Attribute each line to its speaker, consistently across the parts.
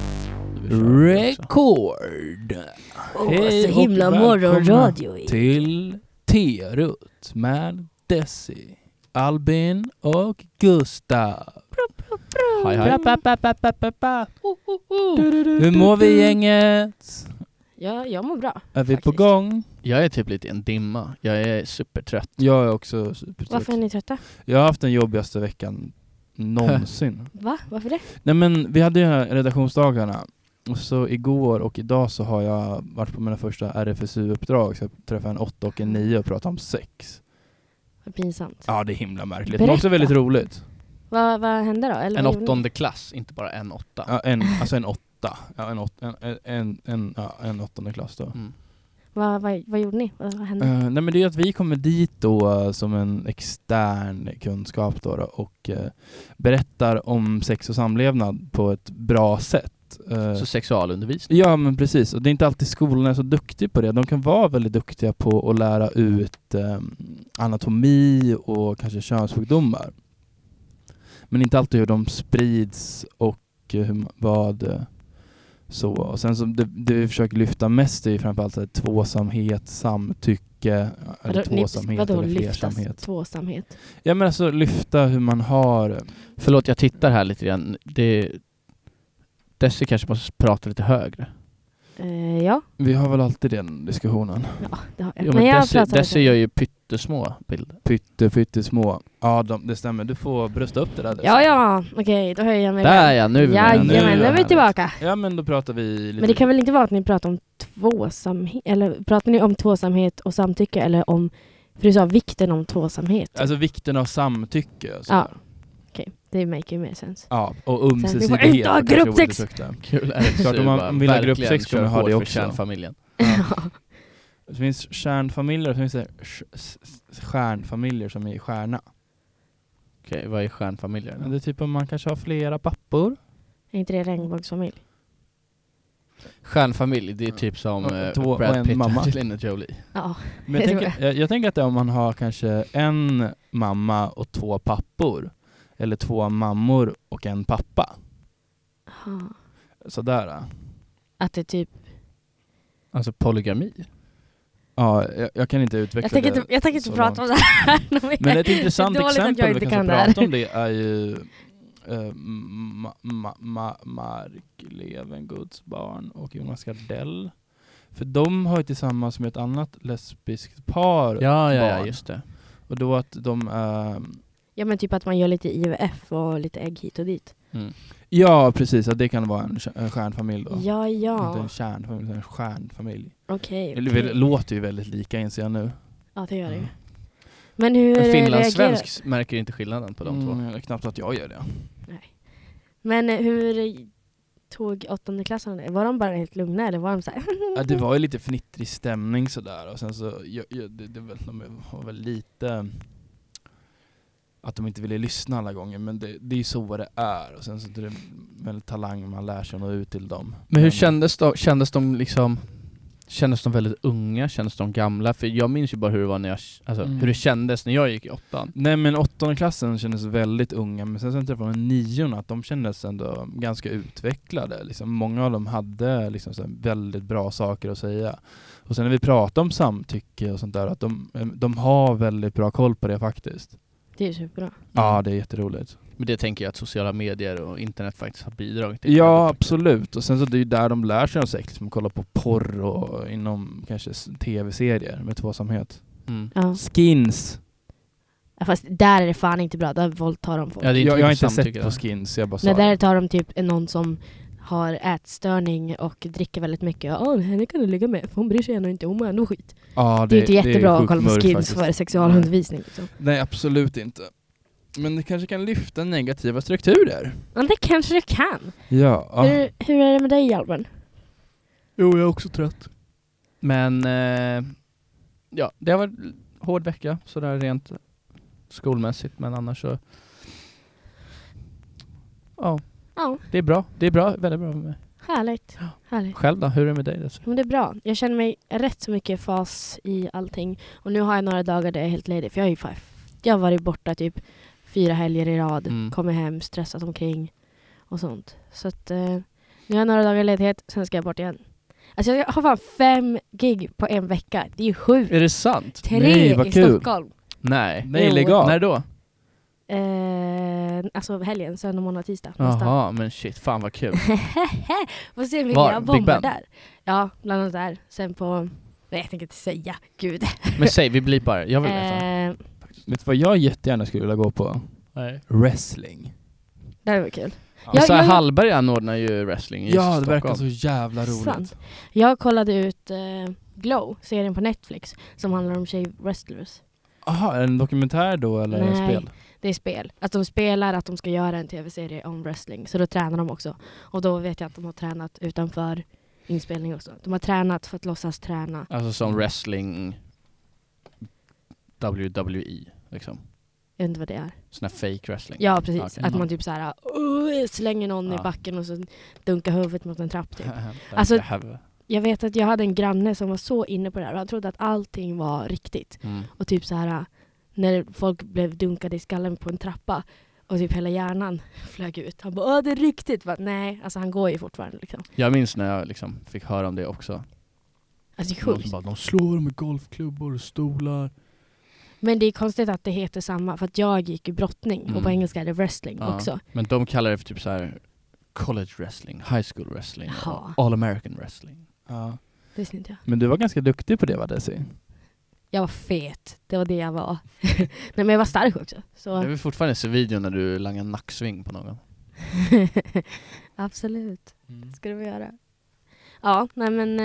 Speaker 1: vi kör också.
Speaker 2: Record!
Speaker 3: Åh,
Speaker 2: Hej
Speaker 3: så himla
Speaker 2: och välkomna
Speaker 3: morgonradio i.
Speaker 2: Till T-Rut med Desi, Albin och Gustav.
Speaker 1: Hej hej.
Speaker 2: Bra, ba, ba, ba, ba, ba, ba. Hur mår vi gänget?
Speaker 3: Ja, jag mår bra.
Speaker 2: Är vi på
Speaker 3: Faktiskt.
Speaker 2: gång?
Speaker 1: Jag är typ lite i en dimma. Jag är supertrött.
Speaker 2: Jag är också supertrött.
Speaker 3: Varför är ni trötta?
Speaker 2: Jag har haft den jobbigaste veckan någonsin.
Speaker 3: Va? Varför det?
Speaker 2: Nej men vi hade ju de här redaktionsdagarna. Och så igår och idag så har jag varit på mina första RFSU-uppdrag. Så jag träffade en åtta och en nio och pratade om sex.
Speaker 3: Vad pinsamt.
Speaker 2: Ja det är himla märkligt. Men
Speaker 3: Berätta.
Speaker 2: också väldigt roligt.
Speaker 3: Vad, vad hände då? Eller
Speaker 1: En
Speaker 3: vad gjorde ni?
Speaker 1: åttonde klass, inte bara en åtta.
Speaker 2: Ja, en, alltså en åtta. Ja, en, åt, en, en, en, en, ja, en åttonde klass då.
Speaker 1: Mm.
Speaker 3: Vad, vad, vad gjorde ni? Vad, vad hände?
Speaker 2: Eh, nej men det är ju att vi kommer dit då eh, som en extern kunskap då, då och eh, berättar om sex och samlevnad på ett bra sätt. Eh,
Speaker 1: Så sexualundervisning.
Speaker 2: Ja men precis, och det är inte alltid skolan är så duktig på det. De kan vara väldigt duktiga på att lära ut eh, anatomi och kanske könssjukdomar. Men inte alltid hur de sprids och eh, hur, ma- vad eh, så. Och sen så det, det vi försöker lyfta mest är ju framförallt så här tvåsamhet, samtycke, eller
Speaker 3: Vadå, ni-
Speaker 2: tvåsamhet
Speaker 3: vadå,
Speaker 2: eller
Speaker 3: lyftas
Speaker 2: flersamhet.
Speaker 3: Tvåsamhet.
Speaker 2: Ja men alltså lyfta hur man har...
Speaker 1: Förlåt, jag tittar här lite grann. Det... Desi kanske måste prata lite högre.
Speaker 3: Eh, ja,
Speaker 2: Vi har väl alltid den diskussionen.
Speaker 3: det har jag.
Speaker 1: Jo, men
Speaker 3: jag
Speaker 1: Desi,
Speaker 3: pratar
Speaker 1: Desi
Speaker 3: lite.
Speaker 1: gör ju pyttesmå bilder.
Speaker 2: Pytte, pyttesmå. Ja, de, det stämmer. Du får brösta upp det där.
Speaker 3: Ja, ja, okej, då höjer jag mig.
Speaker 1: Där
Speaker 3: igen.
Speaker 1: ja, nu är vi med.
Speaker 2: Jajamän,
Speaker 1: Nu är vi
Speaker 3: Jajamän,
Speaker 2: nu
Speaker 3: då
Speaker 1: med.
Speaker 3: är vi tillbaka.
Speaker 2: Ja men då pratar vi lite...
Speaker 3: Men det kan väl inte vara att ni pratar om tvåsamhet? Eller pratar ni om tvåsamhet och samtycke? Eller om... För du sa vikten om tvåsamhet.
Speaker 2: Alltså vikten av samtycke. Och
Speaker 3: ja,
Speaker 2: sådär.
Speaker 3: okej. Det make ju mer sens.
Speaker 2: ja. Och
Speaker 3: Sen, vi får
Speaker 2: ömsesidighet.
Speaker 3: inte ha
Speaker 2: kanske är
Speaker 3: gruppsex!
Speaker 2: ordet sökta.
Speaker 1: Kul är det.
Speaker 2: Klart,
Speaker 1: Så
Speaker 2: om man
Speaker 1: bara
Speaker 2: vill ha
Speaker 1: verkligen
Speaker 2: gruppsex
Speaker 1: kör
Speaker 2: kommer man ha
Speaker 1: hårt
Speaker 2: det
Speaker 1: för
Speaker 2: också.
Speaker 1: kärnfamiljen.
Speaker 2: Det finns kärnfamiljer och det finns det sh- s- s- stjärnfamiljer som är stjärna.
Speaker 1: Okej, vad är stjärnfamiljer?
Speaker 2: Det är typ om man kanske har flera pappor.
Speaker 3: Är inte det regnbågsfamilj?
Speaker 1: Stjärnfamilj, det är typ som
Speaker 2: Och
Speaker 1: eh,
Speaker 2: två- och
Speaker 1: Brad
Speaker 2: en
Speaker 1: Pitt och
Speaker 2: mamma.
Speaker 1: Angelina Jolie.
Speaker 3: Ja.
Speaker 2: Men jag,
Speaker 3: Det
Speaker 2: tänker, jag, jag tänker att det är om man har kanske en mamma och två pappor. Eller två mammor och en pappa.
Speaker 3: Aha.
Speaker 2: Sådär.
Speaker 3: Att det typ...
Speaker 1: Alltså polygami.
Speaker 2: Ja, jag, jag kan inte utveckla
Speaker 3: Jag tänker
Speaker 2: det.
Speaker 3: inte, jag tänker inte
Speaker 2: så
Speaker 3: prata om det här något mer.
Speaker 2: Men ett intressant
Speaker 3: Det är dåligt att jag
Speaker 2: exempel vi
Speaker 3: inte
Speaker 2: kanske
Speaker 3: kan det här.
Speaker 2: pratar om det är ju eh, ma, ma, ma, Mark Levenguds barn och Jonas Gardell. För de har ju tillsammans med ett annat lesbiskt par
Speaker 1: Ja, ja, ja,
Speaker 2: barn.
Speaker 1: just det.
Speaker 2: och då att de ehm,
Speaker 3: Ja men typ att man gör lite IVF och lite ägg hit och dit.
Speaker 2: Ja precis, att det kan vara en, kär- en stjärnfamilj då.
Speaker 3: Ja,
Speaker 2: Inte
Speaker 3: ja.
Speaker 2: en kärnfamilj, utan en stjärnfamilj.
Speaker 3: Okej.
Speaker 2: Det
Speaker 3: okej.
Speaker 2: låter ju väldigt lika inser jag nu.
Speaker 3: Ja det gör det ju.
Speaker 2: Mm.
Speaker 3: Men hur
Speaker 1: En
Speaker 3: reagerar...
Speaker 1: finlandssvensk märker inte skillnaden på de två.
Speaker 2: Mm, eller knappt att jag gör det.
Speaker 3: Men hur tog åttondeklassarna det? Var de bara helt lugna eller var de så här...
Speaker 2: Ja, det var ju lite fnittrig stämning sådär och sen så, jag, jag, det, det, var- de var väl lite att de inte ville lyssna alla gånger men det, det är ju så vad det är och sen så är det väl talang man lär sig nå ut till dem.
Speaker 1: Men hur kändes de, kändes de liksom Kändes de väldigt unga? Kändes de gamla? För jag minns ju bara hur det var när jag, alltså,
Speaker 2: Mm.
Speaker 1: hur det kändes när jag gick i åttan.
Speaker 2: Nej men åttonde klassen kändes väldigt unga men sen så träffade man niorna att de kändes ändå ganska utvecklade. Liksom, många av dem hade liksom, så här väldigt bra saker att säga. Och sen när vi pratade om samtycke och sånt där att de, de har väldigt bra koll på det faktiskt.
Speaker 3: Det är ju superbra.
Speaker 2: Ja det är jätteroligt.
Speaker 1: Men det tänker jag att sociala medier och internet faktiskt har bidragit till.
Speaker 2: Ja, absolut. Och sen så det är ju där de lär sig om sex, liksom kolla på porr och inom kanske s- tv-serier med tvåsamhet.
Speaker 1: Mm.
Speaker 3: Ja.
Speaker 2: Skins!
Speaker 3: Ja, Fast där är det fan inte bra, där våldtar de folk.
Speaker 1: Ja, det är inte
Speaker 2: Jag, jag har
Speaker 1: mycket
Speaker 2: inte
Speaker 1: samtycke
Speaker 2: sett på
Speaker 1: där.
Speaker 2: skins, jag bara sa
Speaker 3: Nej, där
Speaker 2: det.
Speaker 3: tar de typ någon som har ätstörning och dricker väldigt mycket. Ja, henne kan du ligga med för hon bryr sig ändå inte om ändå skit.
Speaker 2: Ja,
Speaker 3: Det, är ju inte jättebra att
Speaker 2: sjukt
Speaker 3: kolla på
Speaker 2: mörkt
Speaker 3: skins
Speaker 2: faktiskt.
Speaker 3: för sexualundervisning. Liksom.
Speaker 2: Nej, absolut inte. Men det kanske kan lyfta negativa strukturer.
Speaker 3: Men det kanske det kan.
Speaker 2: Ja.
Speaker 3: Hur, hur är det med dig Albin?
Speaker 1: Jo, jag är också trött. Men eh, ja, det har varit en hård vecka sådär rent skolmässigt men annars så Ja,
Speaker 3: Ja,
Speaker 1: det är bra. Det är bra, väldigt bra med mig.
Speaker 3: härligt. härligt.
Speaker 1: Själv då? Hur är det med dig? Desi?
Speaker 3: Men det är bra. Jag känner mig rätt så mycket i fas i allting. Och nu har jag några dagar där jag är helt ledig. För jag, är ju fan, jag har varit borta typ fyra helger i rad.
Speaker 1: Mm.
Speaker 3: Kommer hem, stressat omkring och sånt. Så att, eh, Nu har jag några dagar ledighet, sen ska jag bort igen. Alltså jag har fan fem gig på en vecka. Det är ju sjukt.
Speaker 1: Är det sant?
Speaker 3: Tre
Speaker 2: Nej, vad
Speaker 3: i
Speaker 2: kul.
Speaker 3: Stockholm.
Speaker 1: Nej.
Speaker 2: Nej,
Speaker 3: Jo.
Speaker 2: lägg av.
Speaker 1: När då?
Speaker 3: Eh, alltså helgen, söndag, måndag, tisdag. nästa.
Speaker 1: Jaha, men shit, fan vad kul.
Speaker 3: Får se hur mycket
Speaker 1: Var?
Speaker 3: jag
Speaker 1: Big
Speaker 3: bombar
Speaker 1: Ben?
Speaker 3: där. Ja, bland annat där. Sen på... Nej, jag tänker inte säga. Gud.
Speaker 1: Men säg, vi blipar. Jag vill veta.
Speaker 3: Eh,
Speaker 2: Vet du vad jag jättegärna skulle vilja gå på?
Speaker 1: Nej.
Speaker 2: Wrestling.
Speaker 3: det här var kul.
Speaker 1: Ja,
Speaker 3: Ja,
Speaker 1: så här,
Speaker 3: jag-
Speaker 1: Alltså, Hallberg anordnar ju wrestling i
Speaker 2: Ja, det
Speaker 1: Stockholm.
Speaker 2: verkar så jävla roligt.
Speaker 3: Sant. Jag kollade ut eh, Glow, serien på Netflix, som handlar om tjej-wrestlers.
Speaker 2: Aha, är det en dokumentär då eller är det
Speaker 3: Nej.
Speaker 2: spel?
Speaker 3: Det är spel. Att de spelar att de ska göra en tv-serie om wrestling. Så då tränar de också. Och då vet jag att de har tränat utanför inspelning också. De har tränat för att låtsas träna.
Speaker 1: Alltså som wrestling WWE liksom.
Speaker 3: Jag vet inte vad det är.
Speaker 1: Sån här fake wrestling.
Speaker 3: Ja, precis.
Speaker 1: Okej.
Speaker 3: Att man typ så här "Åh", slänger någon i
Speaker 1: Ja.
Speaker 3: backen och så dunkar huvudet mot en trapp typ.
Speaker 1: alltså,
Speaker 3: Alltså- Jag vet att jag hade en granne som var så inne på det här och han trodde att allting var riktigt.
Speaker 1: mm.
Speaker 3: Och typ så här när folk blev dunkade i skallen på en trappa och typ hela hjärnan flög ut. Han bara åh det är riktigt. Jag Bara, Nej, alltså han går ju fortfarande liksom.
Speaker 1: Jag minns när jag liksom fick höra om det också.
Speaker 3: Alltså det är
Speaker 1: Någon
Speaker 3: sjukt.
Speaker 1: som bara, de slår med golfklubbor och stolar.
Speaker 3: Men det är konstigt att det heter samma, för att jag gick i brottning och
Speaker 1: Mm.
Speaker 3: på engelska är det wrestling
Speaker 1: Ja.
Speaker 3: också.
Speaker 1: Men de kallar det för typ så här college wrestling, high school wrestling,
Speaker 3: Jaha.
Speaker 1: och all American wrestling.
Speaker 2: Ja.
Speaker 3: Det visste inte jag.
Speaker 2: Men du var ganska duktig på det va Desi?
Speaker 3: Jag var fet, det var det jag var. Nej men jag var stark också.
Speaker 1: Det är
Speaker 3: Så
Speaker 1: väl fortfarande se video när du langar nacksving på någon.
Speaker 3: absolut,
Speaker 2: Mm.
Speaker 3: ska du få göra. Ja, nej men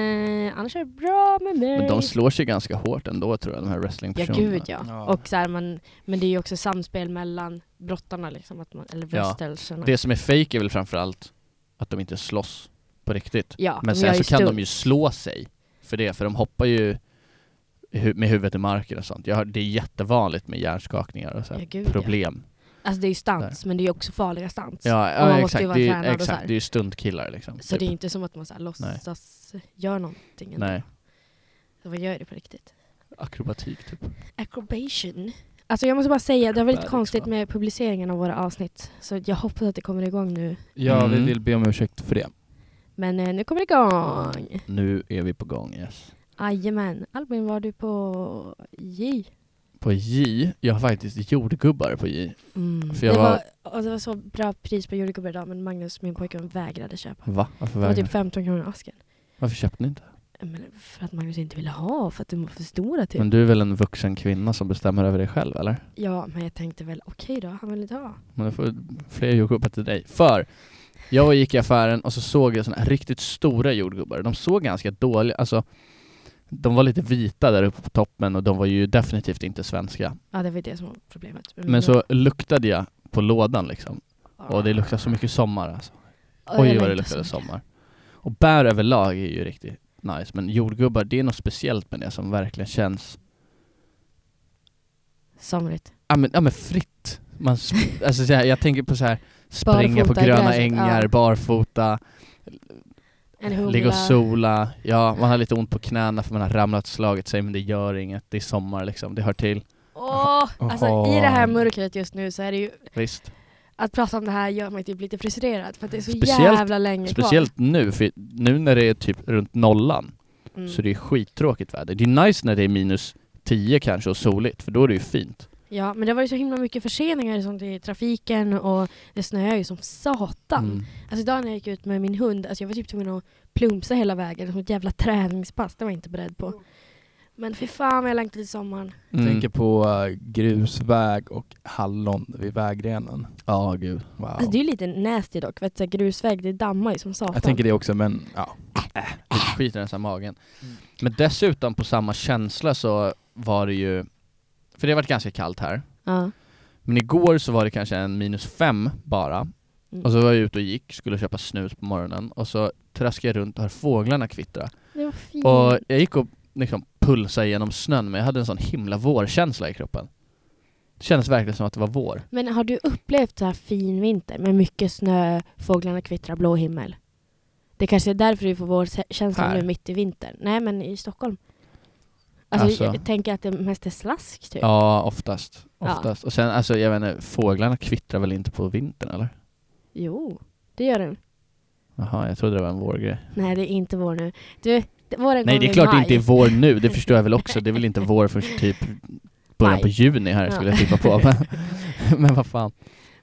Speaker 3: eh, annars är det bra med mig.
Speaker 1: Men de slår sig ganska hårt ändå tror jag, de här
Speaker 3: Ja
Speaker 1: wrestlingpersonerna.
Speaker 3: gud ja.
Speaker 2: Ja.
Speaker 3: Och så här, man, men det är ju också samspel mellan brottarna liksom, att man, eller
Speaker 1: Ja.
Speaker 3: wrestlerserna.
Speaker 1: Det som är fake är väl framförallt att de inte slåss på riktigt.
Speaker 3: Ja,
Speaker 1: Men sen
Speaker 3: jag
Speaker 1: så
Speaker 3: är
Speaker 1: kan
Speaker 3: stor.
Speaker 1: de ju slå sig för det, för de hoppar ju i hu- med huvudet i marken och sånt. Jag hör, det är jättevanligt med hjärnskakningar och så här
Speaker 3: Ja, gud, ja.
Speaker 1: problem.
Speaker 3: Alltså det är ju stans, men det är ju också farliga stans.
Speaker 1: Ja,
Speaker 3: Och
Speaker 1: ja,
Speaker 3: man måste ju
Speaker 1: exakt.
Speaker 3: vara
Speaker 1: Det
Speaker 3: tränad
Speaker 1: är,
Speaker 3: och
Speaker 1: exakt.
Speaker 3: så här.
Speaker 1: det är ju stuntkillar liksom.
Speaker 3: Så det är inte som att man så här, låtsas göra någonting. ändå.
Speaker 1: Nej,
Speaker 3: Så Vad gör det på riktigt?
Speaker 1: akrobatik typ.
Speaker 3: Acrobation. Alltså jag måste bara säga, det var väldigt
Speaker 1: Acrobatics,
Speaker 3: konstigt
Speaker 1: va?
Speaker 3: med publiceringen av våra avsnitt. Så jag hoppas att det kommer igång nu.
Speaker 2: Ja, vi
Speaker 1: Mm.
Speaker 2: vill be om ursäkt för det.
Speaker 3: Men eh, nu kommer det igång!
Speaker 1: Nu är vi på gång, yes.
Speaker 3: Jajamän. Albin, var du på J?
Speaker 1: På J, jag har faktiskt jordgubbar på J.
Speaker 3: Mm.
Speaker 1: För jag
Speaker 3: det, var...
Speaker 1: var-
Speaker 3: och det var så bra pris på jordgubbar idag, men Magnus, min pojkvän, vägrade köpa.
Speaker 1: Va? Varför,
Speaker 3: Det var
Speaker 1: vägrade?
Speaker 3: typ 15 kronor asken.
Speaker 1: Varför köpte ni inte?
Speaker 3: Men för att Magnus inte ville ha, för att de var för stora typ.
Speaker 1: Men du är väl en vuxen kvinna som bestämmer över dig själv, eller?
Speaker 3: Ja, men jag tänkte väl okej då, han vill inte ha.
Speaker 1: Men då får jag fler jordgubbar till dig. För jag gick i affären och så såg jag såna här riktigt stora jordgubbar. De såg ganska dåliga, alltså de var lite vita där uppe på toppen och de var ju definitivt inte svenska.
Speaker 3: Ja, det var ju det som var problemet.
Speaker 1: Men så luktade jag på lådan liksom och det luktade så mycket sommar alltså.
Speaker 3: Ja, jag
Speaker 1: Oj vad det
Speaker 3: längtar
Speaker 1: luktade
Speaker 3: så
Speaker 1: sommar. Och bär överlag är ju riktigt nice men jordgubbar det är något speciellt med det som verkligen känns,
Speaker 3: mycket. Somrigt.
Speaker 1: ja men, ja, men fritt. Man, sp- alltså så här, jag tänker på så här springa
Speaker 3: Barfota
Speaker 1: på
Speaker 3: i
Speaker 1: gröna
Speaker 3: gräset,
Speaker 1: ängar,
Speaker 3: ja.
Speaker 1: barfota,
Speaker 3: En humla.
Speaker 1: Ligga och sola, ja man har lite ont på knäna för man har ramlat och slagit sig men det gör inget, det är sommar liksom, det hör till.
Speaker 3: Åh, alltså
Speaker 2: Åh.
Speaker 3: i det här mörkret just nu så är det ju,
Speaker 1: Visst.
Speaker 3: att prata om det här gör mig typ lite frustrerad för att det är så
Speaker 1: Speciellt-
Speaker 3: jävla länge
Speaker 1: Speciellt nu, för nu när det är typ runt nollan
Speaker 3: kvar. Mm.
Speaker 1: så det är skittråkigt väder. Det är nice när det är minus 10 kanske och soligt, för då är det ju fint.
Speaker 3: Ja, men det var ju så himla mycket förseningar och sånt i trafiken och det snöar ju som satan.
Speaker 1: Mm.
Speaker 3: Alltså idag när jag gick ut med min hund, alltså jag var typ tvungen att plumpsa hela vägen som ett jävla träningspass, det var jag inte beredd på. Men fy fan vad jag längtar till sommaren.
Speaker 1: Mm.
Speaker 2: Tänker på eh, grusväg och hallon vid vägrenen.
Speaker 1: Ja gud.
Speaker 2: Wow.
Speaker 3: Alltså det är ju lite nasty dock, vet du, så här grusväg, det dammar ju som satan.
Speaker 2: jag tänker det också men ja.
Speaker 1: Det skiter i den här magen. Men dessutom på samma känsla så var det ju, för det har varit ganska kallt här,
Speaker 3: Ja.
Speaker 1: men igår så var det kanske en minus fem bara
Speaker 3: Mm.
Speaker 1: Och så var jag ute och gick, skulle köpa snus på morgonen och så traskade jag runt och hör fåglarna kvittra.
Speaker 3: Det var fint.
Speaker 1: Och jag gick och liksom pulsade genom snön men jag hade en sån himla vårkänsla i kroppen. Det kändes verkligen som att det var vår.
Speaker 3: Men har du upplevt så här fin vinter med mycket snö, fåglarna kvittrar, blå himmel? Det kanske är därför du får vår se- känsla
Speaker 1: Här.
Speaker 3: nu mitt i vintern. Nej, men i Stockholm. Alltså,
Speaker 1: Alltså.
Speaker 3: Jag tänker att det mest är slask typ.
Speaker 1: Ja, oftast.
Speaker 3: Ja.
Speaker 1: oftast. Och sen, alltså jag vet inte, fåglarna kvittrar väl inte på vintern eller?
Speaker 3: Jo, det gör den.
Speaker 1: Jaha, jag trodde det var en vårgrej.
Speaker 3: Nej, det är inte vår nu. Du, det- våren
Speaker 1: Nej,
Speaker 3: kommer
Speaker 1: det är
Speaker 3: i
Speaker 1: klart det
Speaker 3: maj.
Speaker 1: inte är vår nu, det förstår jag väl också. Det är väl inte vår först typ början
Speaker 3: Maj.
Speaker 1: på juni här skulle
Speaker 3: Ja.
Speaker 1: jag tippa på. Men, men vad fan.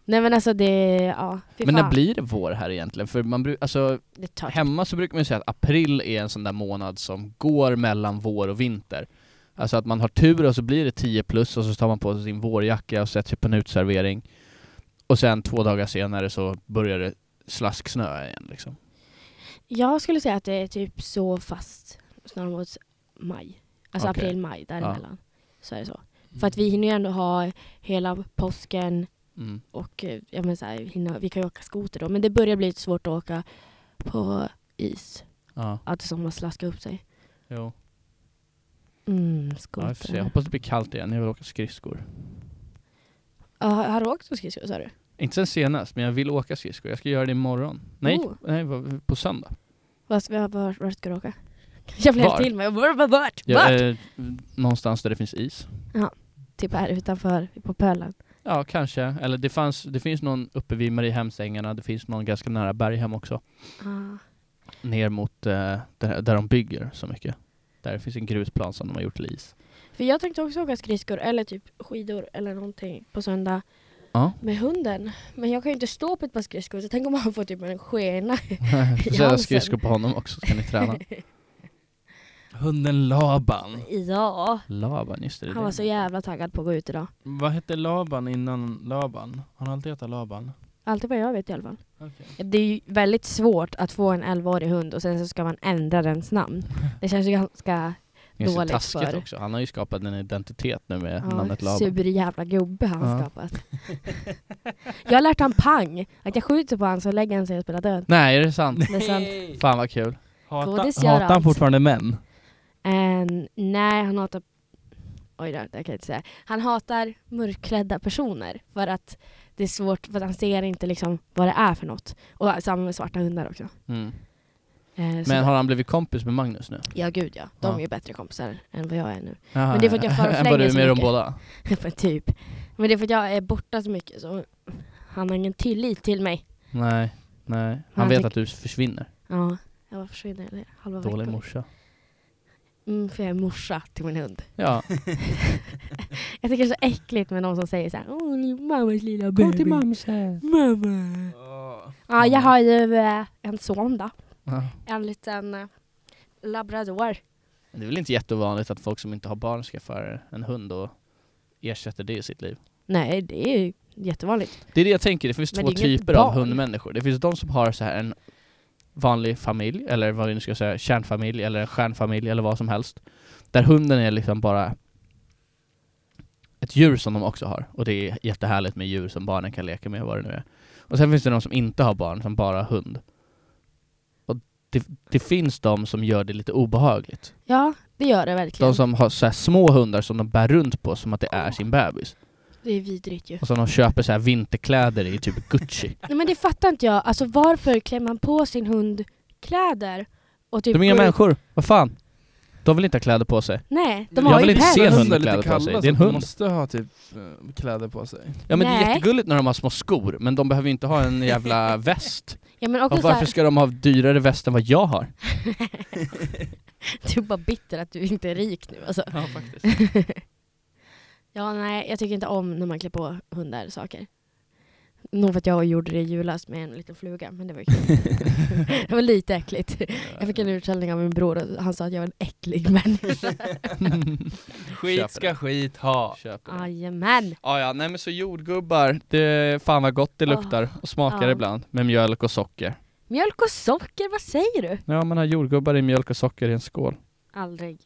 Speaker 3: Nej men alltså det, ja. Fy
Speaker 1: Men när
Speaker 3: fan.
Speaker 1: blir det vår här egentligen? För man bru- alltså,
Speaker 3: det tar
Speaker 1: hemma så brukar man ju säga att april är en sån där månad som går mellan vår och vinter. Alltså att man har tur och så blir det 10 plus och så tar man på sig sin vårjacka och sätter sig på en uteservering. Och sen två dagar senare så börjar det slasksnöa igen liksom.
Speaker 3: Jag skulle säga att det är typ så fast snarare mot maj. Alltså
Speaker 1: Okej.
Speaker 3: april, maj däremellan. Så är det så. För att vi hinner ju ändå ha hela påsken
Speaker 1: Mm.
Speaker 3: och eh, ja, men så här, hinna, vi kan ju åka skoter då. Men det börjar bli lite svårt att åka på is.
Speaker 1: Ja,
Speaker 3: Att det som har slaskat upp sig.
Speaker 1: jo.
Speaker 3: Mm,
Speaker 1: Ja,
Speaker 3: skoter.
Speaker 1: vi får se. jag hoppas det blir kallt igen, jag vill åka skridskor.
Speaker 3: Ja, har, har du åkt på skridskor sa du?
Speaker 1: Inte sen senast, men jag vill åka skridskor. Jag ska göra det imorgon. Nej,
Speaker 3: Oh.
Speaker 1: nej vad- på söndag.
Speaker 3: Vart var, var, var ska du åka? Jag blev
Speaker 1: Var?
Speaker 3: helt till mig. Jag bara, Vart? Vart?
Speaker 1: Jag, eh, någonstans där det finns is.
Speaker 3: Typ här utanför på pölen.
Speaker 1: Ja, kanske. Eller det, fanns, det finns någon uppe vid Mariehemsängarna, det finns någon ganska nära Berghem också.
Speaker 3: Ah.
Speaker 1: Ner mot eh, där, där de bygger så mycket. Där finns en grusplan som de har gjort till is.
Speaker 3: För jag tänkte också åka skridskor eller typ skidor eller någonting på söndag
Speaker 1: Ja.
Speaker 3: med hunden. Men jag kan ju inte stå på ett par skridskor så tänk om han får typ en skena.
Speaker 1: Så jag
Speaker 3: Jansen.
Speaker 1: skridskor på honom också, så kan ni träna.
Speaker 2: Hunden Laban.
Speaker 3: ja.
Speaker 1: Laban, just Mm. det. det är
Speaker 3: Han var
Speaker 1: det.
Speaker 3: så jävla taggad på att gå ut idag.
Speaker 2: Vad hette Laban innan Laban? Har han alltid hetat Laban?
Speaker 3: Alltid vad jag vet i alla fall. Det är ju väldigt svårt att få en 11-årig hund och sen så ska man ändra dens namn. Det känns ju ganska
Speaker 1: Det är så
Speaker 3: dåligt
Speaker 1: taskigt
Speaker 3: för-
Speaker 1: också. Han har ju skapat en identitet nu med
Speaker 3: ja,
Speaker 1: namnet Laban.
Speaker 3: sur jävla gubbe han
Speaker 1: Ja.
Speaker 3: skapat. jag har lärt han pang. Att jag skjuter på han så lägger han sig och spelar död.
Speaker 1: Nej, är det sant?
Speaker 3: Det är sant.
Speaker 1: Fan vad kul.
Speaker 2: Hata,
Speaker 3: Godis gör
Speaker 2: hatar han
Speaker 3: allt.
Speaker 2: fortfarande män?
Speaker 3: En, Ehm, nej, han hatar... Oj då, det kan jag inte säga. Han hatar mörkklädda personer för att det är svårt, för att han ser inte liksom vad det är för något. Och samma med svarta hundar också.
Speaker 1: Mm.
Speaker 3: Eh, så-
Speaker 1: Men har han blivit kompis med Magnus nu?
Speaker 3: Ja, gud ja. De
Speaker 1: Ja.
Speaker 3: är ju bättre kompisar än vad jag är nu.
Speaker 1: Men
Speaker 3: det är för att jag förflänger
Speaker 1: Var du
Speaker 3: så
Speaker 1: med dem
Speaker 3: mycket.
Speaker 1: båda?
Speaker 3: Men typ. Men det är för att jag är borta så mycket så han har ingen tillit till mig.
Speaker 1: Nej, nej. Han
Speaker 3: han
Speaker 1: vet
Speaker 3: tyck-
Speaker 1: att du försvinner.
Speaker 3: Ja, jag bara försvinner eller halva
Speaker 1: Dålig
Speaker 3: veckan.
Speaker 1: morsa.
Speaker 3: Mm, för jag är morsa till min hund.
Speaker 1: Ja.
Speaker 3: Jag tycker det är så äckligt med någon som säger så här, Åh, ni är mammas lilla baby.
Speaker 1: mamsen.
Speaker 3: Mamma. Ja, jag har ju eh, en son då.
Speaker 1: Ja.
Speaker 3: En liten eh, labrador.
Speaker 1: Det är väl inte jätteovanligt att folk som inte har barn skaffar en hund och ersätter det i sitt liv.
Speaker 3: Nej, det är ju jättevanligt.
Speaker 1: Det är det jag tänker, det finns
Speaker 3: Men
Speaker 1: två
Speaker 3: det är inget
Speaker 1: typer av
Speaker 3: barn.
Speaker 1: hundmänniskor. Det finns de som har så här en vanlig familj, eller vad vi nu ska säga, kärnfamilj eller en stjärnfamilj eller vad som helst. Där hunden är liksom bara ett djur som de också har. Och det är jättehärligt med djur som barnen kan leka med, vad det nu är. Och sen finns det de som inte har barn, som bara har hund. Och det, det finns de som gör det lite obehagligt.
Speaker 3: Ja, det gör det verkligen.
Speaker 1: De som har så här små hundar som de bär runt på som att det är sin bebis.
Speaker 3: Det är vidrigt ju.
Speaker 1: Och som de köper så här vinterkläder i, typ Gucci.
Speaker 3: Nej, men det fattar inte jag. Alltså varför klär man på sin hund kläder? Och typ
Speaker 1: De är inga
Speaker 3: går ut-
Speaker 1: människor, vad fan? De vill inte ha kläder på sig.
Speaker 3: Nej, de
Speaker 1: Jag
Speaker 3: har
Speaker 1: vill
Speaker 3: ju
Speaker 1: inte
Speaker 3: päls.
Speaker 1: se en hund.
Speaker 2: Hundar är
Speaker 1: med
Speaker 2: lite
Speaker 1: kläder på sig.
Speaker 2: kalla,
Speaker 1: Det är en
Speaker 2: så
Speaker 1: hund.
Speaker 2: De måste ha typ eh, kläder på sig.
Speaker 1: Ja men det är
Speaker 3: Nej.
Speaker 1: jättegulligt när de har små skor, men de behöver ju inte ha en jävla väst.
Speaker 3: Ja, men
Speaker 1: Och
Speaker 3: också så
Speaker 1: varför
Speaker 3: här,
Speaker 1: ska de ha dyrare väst än vad jag har?
Speaker 3: du är bara bitter att du inte är rik nu alltså.
Speaker 1: Ja faktiskt.
Speaker 3: Ja, nej, jag tycker inte om när man klär på hundar saker. Nog för att jag gjorde det i julas med en liten fluga, men det var ju kul. det var lite äckligt. Jag fick en utskällning av min bror och han sa att jag var en äcklig människa.
Speaker 1: Köper
Speaker 2: Skit
Speaker 1: det.
Speaker 2: ska skit ha.
Speaker 1: Köper det.
Speaker 3: Jajamän!
Speaker 1: Ah, ja, nej men så jordgubbar, det fan vad gott det
Speaker 3: Ah.
Speaker 1: luktar och smakar
Speaker 3: Ja.
Speaker 1: ibland med mjölk och socker.
Speaker 3: Mjölk och socker, vad säger du?
Speaker 1: Ja man har jordgubbar i mjölk och socker i en skål.
Speaker 3: Aldrig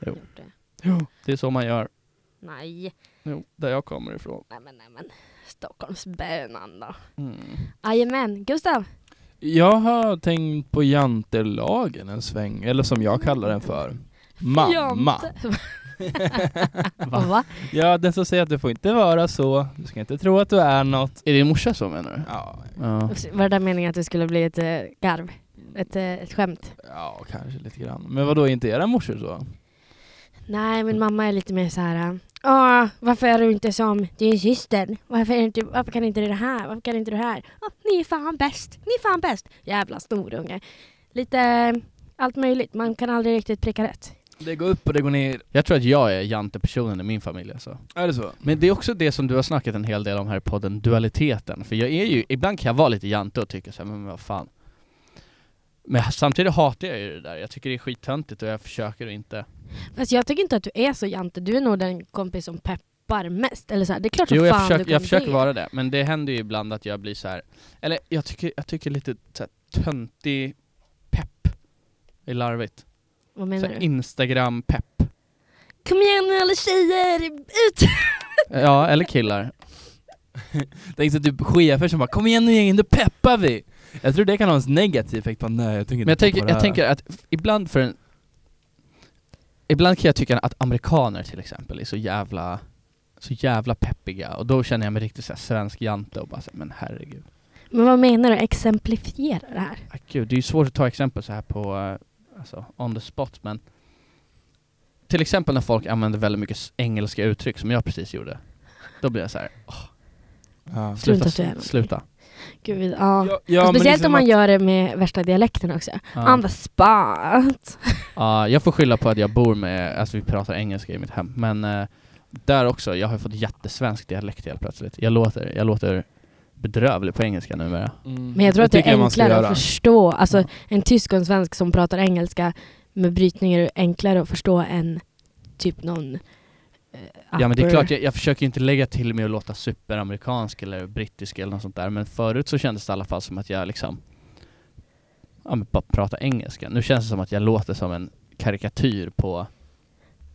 Speaker 1: Jo.
Speaker 3: gjort det.
Speaker 1: Det är så man gör.
Speaker 3: Nej,
Speaker 1: Jo, där jag kommer ifrån.
Speaker 3: nej men, nej men. Stockholmsbönan då.
Speaker 1: Mm.
Speaker 3: Jajamän, Gustav.
Speaker 2: Jag har tänkt på jantelagen en sväng, eller som jag kallar den för. Mamma.
Speaker 3: Jante. Va?
Speaker 2: Ja, den som säger att du får inte vara så, du ska inte tro att du är något.
Speaker 1: Är din morsa så menar du?
Speaker 2: Ja,
Speaker 1: Ja.
Speaker 3: Var det där meningen att det skulle bli ett eh, garv? Ett, eh, ett skämt?
Speaker 2: ja kanske lite grann. Men vadå, är inte era morsor så?
Speaker 3: Mm. Nej, min mamma är lite mer så här. eh, Ja, varför är du inte som din syster? Varför, är du inte, varför kan inte du det här? Varför kan inte du det här? Ja, ni är fan bäst! Ni är fan bäst! Jävla snorunge. Lite eh, allt möjligt. Man kan aldrig riktigt pricka rätt.
Speaker 2: Det går upp och det går ner.
Speaker 1: Jag tror att jag är jantepersonen i min familj alltså.
Speaker 2: Är det så?
Speaker 1: Men det är också det som du har snackat en hel del om här i podden, dualiteten. För jag är ju, ibland kan jag vara lite jante och tycka såhär, men vad fan. Men samtidigt hatar jag ju det där, jag tycker det är skittöntigt och jag försöker att inte
Speaker 3: Alltså, Fast jag tycker inte att du är så jante. Du är nog den kompis som peppar mest. Eller så här, det är klart som
Speaker 1: Jo jag
Speaker 3: fan du
Speaker 1: försöker,
Speaker 3: kommer
Speaker 1: jag försöker
Speaker 3: bli.
Speaker 1: vara det, men det händer ju ibland att jag blir så här. eller jag tycker, jag tycker lite så här, töntig pepp är larvigt.
Speaker 3: Vad
Speaker 1: Så
Speaker 3: menar
Speaker 1: här,
Speaker 3: du?
Speaker 1: Instagram-pepp.
Speaker 3: Kom igen nu alla tjejer! Ut!
Speaker 1: Ja, eller killar.
Speaker 2: Tänk så typ chefer som bara 'Kom igen nu gängen, nu peppar vi!' Jag tror det kan ha en negativ effekt på nej jag tänker
Speaker 1: Men jag
Speaker 2: inte
Speaker 1: tänker,
Speaker 2: peppa det
Speaker 1: jag
Speaker 2: här."
Speaker 1: tänker att f- ibland för en Ibland kan jag tycka att amerikaner till exempel är så jävla så jävla peppiga och då känner jag mig riktigt såhär svensk jante och bara såhär, men herregud.
Speaker 3: Men vad menar du? Exemplifiera det här.
Speaker 1: Ah, gud, det är ju svårt att ta exempel så här på eh, alltså, on the spot men till exempel när folk använder väldigt mycket s- engelska uttryck som jag precis gjorde. Då blir jag såhär,
Speaker 2: Ja.
Speaker 3: Strunta
Speaker 1: sluta,
Speaker 3: att du är någonting.
Speaker 1: sluta.
Speaker 3: Gud, ja.
Speaker 2: Ja, ja, men
Speaker 3: Speciellt
Speaker 2: liksom
Speaker 3: om man
Speaker 2: att-
Speaker 3: gör det med värsta dialekten också.
Speaker 1: Ja.
Speaker 3: On the spot.
Speaker 1: Ja, jag får skylla på att jag bor med, alltså vi pratar engelska i mitt hem, men eh, där också, jag har fått jättesvensk dialekt helt plötsligt. Jag låter, jag låter bedrövlig på engelska numera.
Speaker 2: Mm.
Speaker 3: Men jag tror att det
Speaker 2: tycker
Speaker 3: är
Speaker 2: man ska
Speaker 3: enklare
Speaker 2: göra.
Speaker 3: att förstå. Alltså
Speaker 1: Ja.
Speaker 3: en tysk och en svensk som pratar engelska med brytningar är enklare att förstå än typ någon eh,
Speaker 1: Ja men det är
Speaker 3: upper-
Speaker 1: klart, jag, jag försöker ju inte lägga till mig att låta superamerikansk eller brittisk eller något sånt där, men förut så kändes det i alla fall som att jag liksom, ja men bara prata engelska. Nu känns det som att jag låter som en karikatyr på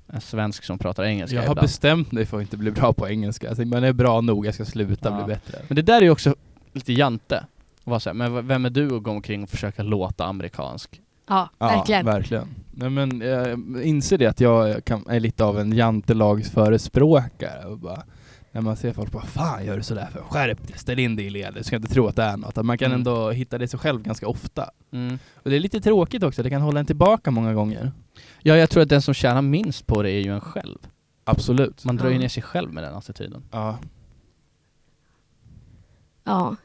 Speaker 1: en svensk som pratar engelska
Speaker 2: Jag har
Speaker 1: ibland.
Speaker 2: bestämt mig för att inte bli bra på engelska. Jag tänkte, man är bra nog, jag ska sluta
Speaker 1: Ja.
Speaker 2: bli bättre.
Speaker 1: Men det där är ju också lite jante. Att vara så här, men v- vem är du att gå omkring och försöka låta amerikansk?
Speaker 3: Ja, verkligen.
Speaker 2: verkligen. Nej, men jag inser det att jag eh, kan, är lite av en jantelagsförespråkare. Och bara, när man ser folk bara Fan gör du sådär för? Skärp dig, ställ in dig i ledet. Du ska inte tro att det är något. Att man kan
Speaker 1: Mm.
Speaker 2: ändå hitta det sig själv ganska ofta.
Speaker 3: Mm.
Speaker 2: Och det är lite tråkigt också, det kan hålla en tillbaka många gånger.
Speaker 1: Ja, jag tror att den som tjänar minst på det är ju en själv.
Speaker 2: Absolut.
Speaker 1: Man drar ju
Speaker 3: Ja.
Speaker 1: ner sig själv med den attityden.
Speaker 2: Ja.
Speaker 3: Ja.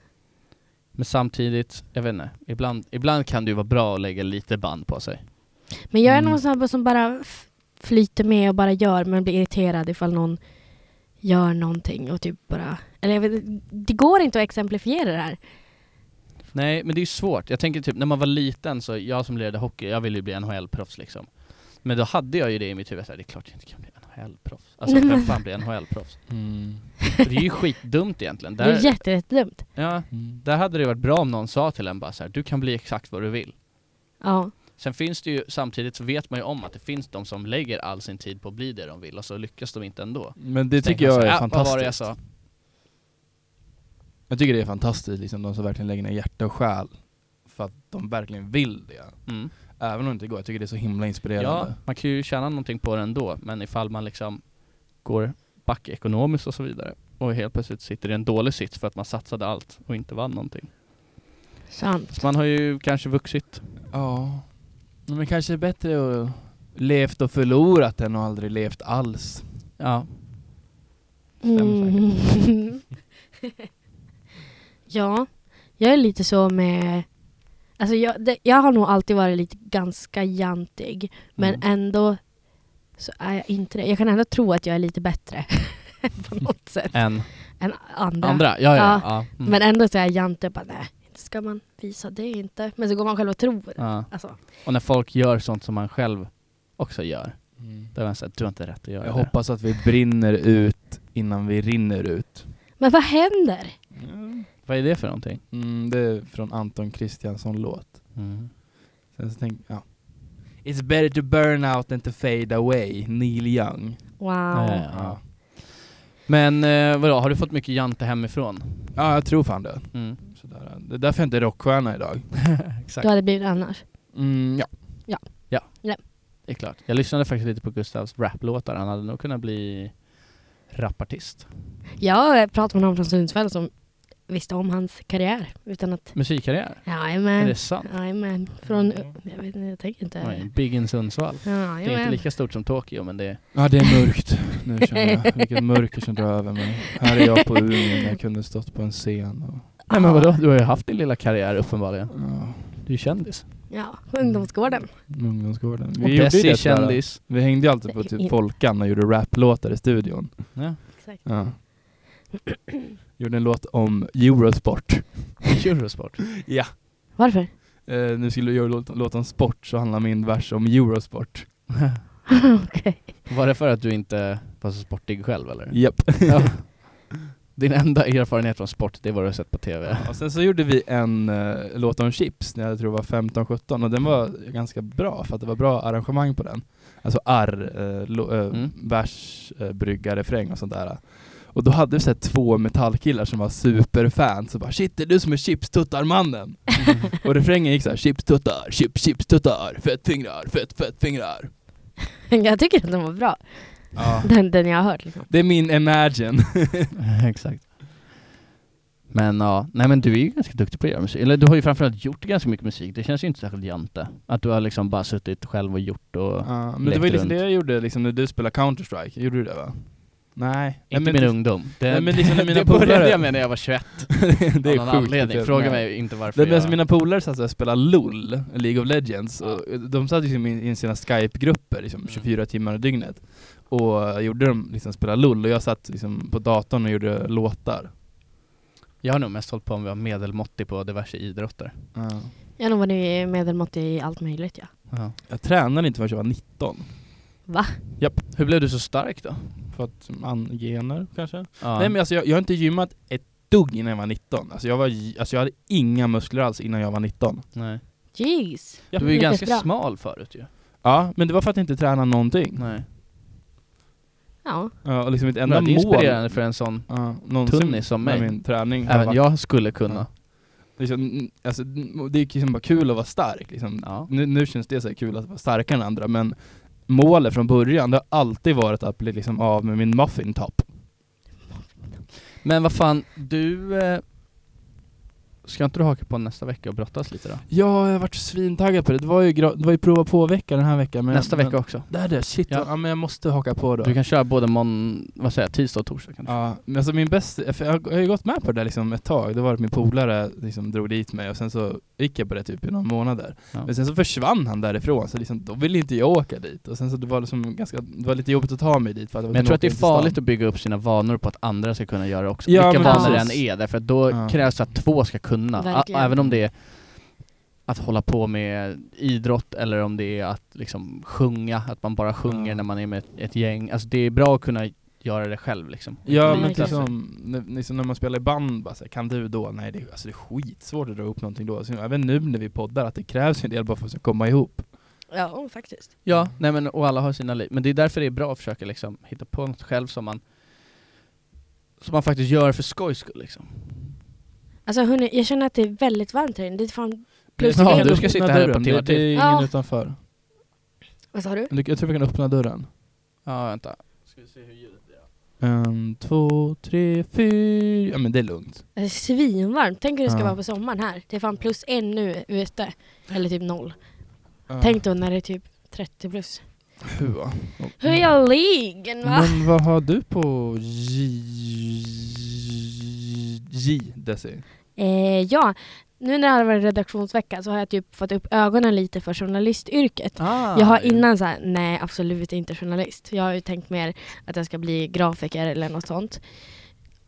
Speaker 1: Men samtidigt, jag vet inte, ibland, ibland kan det ju vara bra att lägga lite band på sig.
Speaker 3: Men jag är
Speaker 2: Mm.
Speaker 3: någon sån här som bara f- flyter med och bara gör men blir irriterad ifall någon gör någonting och typ bara... Eller jag vet, det går inte att exemplifiera det här.
Speaker 1: Nej, men det är ju svårt. Jag tänker typ, när man var liten så, jag som lirade hockey, jag ville ju bli NHL-proffs liksom. Men då hade jag ju det i mitt huvud, så här, det är klart jag inte kan bli NHL-proffs. Alltså
Speaker 3: Nej, men-
Speaker 1: vem fan blir NHL-proffs? Mm. Det är ju skitdumt egentligen.
Speaker 3: Det är
Speaker 1: Där,
Speaker 3: jätte- jättedumt.
Speaker 1: ja, där hade det varit bra om någon sa till en bara så här, du kan bli exakt vad du vill.
Speaker 3: Ja.
Speaker 1: Sen finns det ju, samtidigt så vet man ju om att det finns de som lägger all sin tid på att bli det de vill och så lyckas de inte ändå.
Speaker 2: Men det
Speaker 1: Så tänker
Speaker 2: tycker jag
Speaker 1: man så
Speaker 2: är
Speaker 1: här, "Ah,
Speaker 2: fantastiskt.
Speaker 1: Vad var det jag sa?
Speaker 2: Jag tycker det är fantastiskt, liksom, de som verkligen lägger ner hjärta och själ för att de verkligen vill det.
Speaker 1: Mm.
Speaker 2: Även om det inte går, jag tycker det är så himla
Speaker 1: Ja,
Speaker 2: inspirerande.
Speaker 1: man kan ju tjäna någonting på det ändå, men ifall man liksom går back ekonomiskt och så vidare och helt plötsligt sitter i en dålig sits för att man satsade allt och inte vann någonting.
Speaker 3: Sant.
Speaker 1: Så man har ju kanske vuxit.
Speaker 2: Ja. Men kanske är bättre att levt och förlorat än att aldrig levt alls.
Speaker 1: Ja. Stämmer säkert.
Speaker 3: Mm. ja, jag är lite så med... Alltså jag, det, jag har nog alltid varit lite ganska jantig. Men
Speaker 1: Mm.
Speaker 3: ändå så är jag inte det. Jag kan ändå tro att jag är lite bättre på något sätt
Speaker 1: En.
Speaker 3: än andra.
Speaker 1: Andra? Ja, ja. ja.
Speaker 3: Ja.
Speaker 1: mm.
Speaker 3: Men ändå så är jag jante bara nej, inte ska man visa det inte. Men så går man själv och tror det.
Speaker 1: ja.
Speaker 3: Alltså,
Speaker 1: Och när folk gör sånt som man själv också gör,
Speaker 2: Mm.
Speaker 1: då är man såhär, du har inte rätt att göra
Speaker 2: Jag
Speaker 1: det.
Speaker 2: hoppas att vi brinner ut innan vi rinner ut.
Speaker 3: men vad händer?
Speaker 1: Vad är det för någonting?
Speaker 2: Mm, det är från Anton Kristiansson-låt.
Speaker 1: Mm.
Speaker 2: Sen så tänk, ja. It's better to burn out than to fade away, Neil Young.
Speaker 3: Wow.
Speaker 1: Ja, ja, ja. Men eh, vadå, har du fått mycket jante hemifrån?
Speaker 2: Ja, jag tror fan det.
Speaker 1: Mm.
Speaker 2: Sådär. Det är därför jag inte är rockstjärna idag.
Speaker 1: Exakt,
Speaker 3: Du hade blivit annars.
Speaker 2: Mm, ja.
Speaker 1: det är klart. Jag lyssnade faktiskt lite på Gustavs raplåtar, han hade nog kunnat bli rapartist.
Speaker 3: Jag pratade med någon från Sundsvall som visste om hans karriär utan att
Speaker 1: Musikkarriär?
Speaker 3: Ja,
Speaker 1: Är
Speaker 3: Jajamän.
Speaker 1: det sant?
Speaker 3: Jajamän. Från... Jag vet inte, jag tänker inte.
Speaker 1: Oj, Big in Sundsvall. Det är inte
Speaker 3: Jajamän.
Speaker 1: lika stort som Tokyo men det är...
Speaker 2: Ja det är mörkt. Nu känner jag, vilket mörker som drar över mig. Här är jag på Umeå när jag kunde stått på en scen. Och,
Speaker 1: Nej men vadå, du har ju haft din lilla karriär uppenbarligen.
Speaker 2: ja,
Speaker 1: Du är ju kändis.
Speaker 3: Ja, på ungdomsgården.
Speaker 2: ungdomsgården.
Speaker 1: Och
Speaker 2: Vi gjorde ju
Speaker 1: Desi är
Speaker 2: det kändis.
Speaker 1: kändis.
Speaker 2: Vi hängde ju alltid på typ Folkan och gjorde raplåtar i studion.
Speaker 1: Ja.
Speaker 3: Exakt.
Speaker 2: Ja. Gjorde en låt om Eurosport.
Speaker 1: Eurosport.
Speaker 3: Varför?
Speaker 2: Eh, nu skulle du göra låt, låt om sport så handlar min vers om Eurosport.
Speaker 3: Okej.
Speaker 1: Var det för att du inte var så sportig själv eller?
Speaker 2: Japp.
Speaker 1: Ja. Din enda erfarenhet från sport, det var du har sett på TV.
Speaker 2: Och sen så gjorde vi en eh, låt om chips när jag tror jag var 15-17 och den var ganska bra för att det var bra arrangemang på den. Alltså arr, eh, lo, eh,
Speaker 1: Mm.
Speaker 2: vers, eh, brygga, refräng och sånt där. Och då hade vi sett två metallkillar som var superfans och bara shit det är du som är chipstuttarmannen! och refrängen gick så här chipstuttar, chips, chipstuttar, fettfingrar, fett, fettfingrar.
Speaker 3: Jag tycker att den var bra.
Speaker 2: Ja.
Speaker 3: Den, den jag har hört liksom.
Speaker 2: Det är min Imagine.
Speaker 1: Exakt. Men ja, nej men du är ju ganska duktig på att göra musik. Eller du har ju framförallt gjort ganska mycket musik. Det känns ju inte särskilt jante. Att du har liksom bara suttit själv och gjort och...
Speaker 2: Ja, men
Speaker 1: Lekte
Speaker 2: det var ju liksom
Speaker 1: runt.
Speaker 2: det jag gjorde liksom, när du spelade Counter-Strike, gjorde du det va? Nej.
Speaker 1: Inte
Speaker 2: men
Speaker 1: min
Speaker 2: det-
Speaker 1: ungdom. Det,
Speaker 2: Nej, men liksom när mina
Speaker 1: det började
Speaker 2: polare-
Speaker 1: jag med när jag var 21
Speaker 2: det
Speaker 1: av
Speaker 2: är
Speaker 1: någon
Speaker 2: sjukt
Speaker 1: anledning.
Speaker 2: speciellt.
Speaker 1: Fråga
Speaker 2: Nej.
Speaker 1: mig inte varför
Speaker 2: Nej, men alltså
Speaker 1: jag...
Speaker 2: mina polare satt och spelade LOL, League of Legends, och de satt liksom i i sina Skype-grupper liksom,
Speaker 1: Mm.
Speaker 2: 24 timmar i dygnet och gjorde de liksom spela LOL och jag satt liksom på datorn och gjorde låtar.
Speaker 1: Jag har nog mest hållit på med att vara medelmåttig på diverse idrotter.
Speaker 3: Jag har nog varit medelmåttig i allt möjligt ja.
Speaker 2: Jag tränade inte förrän jag var 19,
Speaker 1: Hur blev du så stark då?
Speaker 2: för att man, gener kanske?
Speaker 1: Ja.
Speaker 2: Nej men alltså jag, jag har inte gymmat ett dugg innan jag var 19, alltså jag, var, j- alltså jag hade inga muskler alls innan jag var 19.
Speaker 1: Nej.
Speaker 3: Jeez.
Speaker 1: Du var ju
Speaker 3: Lyckas
Speaker 1: ganska
Speaker 3: bra.
Speaker 1: smal förut ju.
Speaker 2: Ja, men det var för att jag inte tränade någonting.
Speaker 1: Nej.
Speaker 3: Ja.
Speaker 2: Ja, och liksom mitt
Speaker 1: Enda
Speaker 2: enda
Speaker 1: det är
Speaker 2: mål
Speaker 1: inspirerande för en sån
Speaker 2: ja, någonsin
Speaker 1: tunnis som
Speaker 2: med
Speaker 1: mig.
Speaker 2: min träning har
Speaker 1: Även
Speaker 2: varit-
Speaker 1: jag skulle kunna.
Speaker 2: Liksom, n- alltså, n- det är liksom bara kul att vara stark liksom.
Speaker 1: Ja.
Speaker 2: nu, nu känns det så här kul att vara starkare än andra men målet från början det har alltid varit att bli liksom av med min muffin top.
Speaker 1: Men vad fan, du... Eh, ska inte du haka på nästa vecka och brottas lite då?
Speaker 2: Ja, jag har varit svintaggad på det. Det var ju, gra- det var ju prova på-vecka den här veckan. Men
Speaker 1: nästa
Speaker 2: men,
Speaker 1: vecka också.
Speaker 2: Det är det, shit.
Speaker 1: Ja.
Speaker 2: Ja. men jag måste haka på då.
Speaker 1: Du kan köra både mån... vad säger jag, tisdag och torsdag kanske?
Speaker 2: Ja, men alltså min bästa, för jag har- jag har ju gått med på det där liksom ett tag. Det var att min polare liksom drog dit mig och sen så gick jag på det typ i några månader.
Speaker 1: Ja.
Speaker 2: Men sen så försvann han därifrån så liksom, då ville inte jag åka dit. Och sen så det var liksom ganska, det var lite jobbigt att ta mig dit för att
Speaker 1: Men jag tror att det är farligt att bygga upp sina vanor på att andra ska kunna göra också.
Speaker 2: Ja,
Speaker 1: Vilka
Speaker 3: men
Speaker 1: vanor det än
Speaker 2: precis.
Speaker 1: är, därför att då
Speaker 2: Ja.
Speaker 1: krävs att två ska kunna. A-
Speaker 3: Verkligen.
Speaker 1: även om det är att hålla på med idrott eller om det är att liksom sjunga, att man bara sjunger
Speaker 2: Ja.
Speaker 1: när man är med ett- ett gäng. Alltså det är bra att kunna göra det själv liksom.
Speaker 2: Ja men
Speaker 3: Verkligen.
Speaker 2: typ som, när- liksom när man spelar i band bara så här, kan du då? Nej det, är- alltså det är skitsvårt att dra upp någonting då. Så, även nu när vi poddar att det krävs ju en del bara för att komma ihop.
Speaker 3: Ja, faktiskt.
Speaker 1: Ja, nej men och alla har sina liv. Men det är därför det är bra att försöka liksom hitta på något själv som man som man faktiskt gör för skojs skull liksom.
Speaker 3: Alltså hörni, jag känner att det är väldigt varmt här inne. Det är fan... Plus
Speaker 1: Ja,
Speaker 3: en-
Speaker 1: du ska sitta här ett par
Speaker 2: dörren.
Speaker 1: timmar
Speaker 2: Det, det är
Speaker 1: till.
Speaker 2: ingen
Speaker 3: Ja.
Speaker 2: utanför.
Speaker 3: Vad sa du?
Speaker 2: Du, jag tror vi kan öppna dörren.
Speaker 1: Ja, vänta.
Speaker 2: En, två, tre, fyra. Ja men det är lugnt.
Speaker 3: Det är svinvarmt. Tänk hur det ska
Speaker 2: Ja.
Speaker 3: vara på sommaren här. Det är fan plus en nu ute. Eller typ noll.
Speaker 2: Ja.
Speaker 3: Tänk då när det är typ 30 plus.
Speaker 2: Hua.
Speaker 3: Hur är jag ligen va?
Speaker 2: Men vad har du på J... J... Desi?
Speaker 3: Eh, ja, nu när det har varit redaktionsvecka så har jag typ fått upp ögonen lite för journalistyrket.
Speaker 1: Ah,
Speaker 3: Jag har innan så här, nej absolut inte journalist. Jag har ju tänkt mer att jag ska bli grafiker eller något sånt.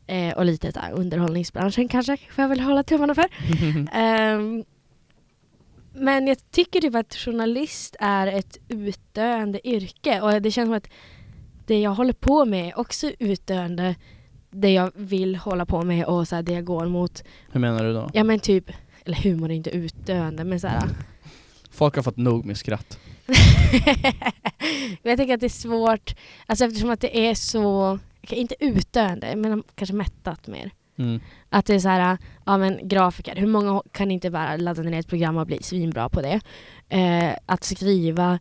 Speaker 3: Eh, och lite så här, underhållningsbranschen kanske, får jag väl hålla tummarna för. Ehm, men jag tycker typ att journalist är ett utdöende yrke och det känns som att det jag håller på med är också utdöende. Det jag vill hålla på med och så här, det jag går mot.
Speaker 1: Hur menar du då?
Speaker 3: Ja men typ, eller humor är inte utdöende men så här.
Speaker 1: Folk har fått nog med skratt.
Speaker 3: Men jag tänker att det är svårt, alltså eftersom att det är så, okej, inte utdöende, men kanske mättat mer.
Speaker 1: Mm.
Speaker 3: Att det är så här, ja men grafiker, hur många kan inte bara ladda ner ett program och bli svinbra på det? Eh, att skriva,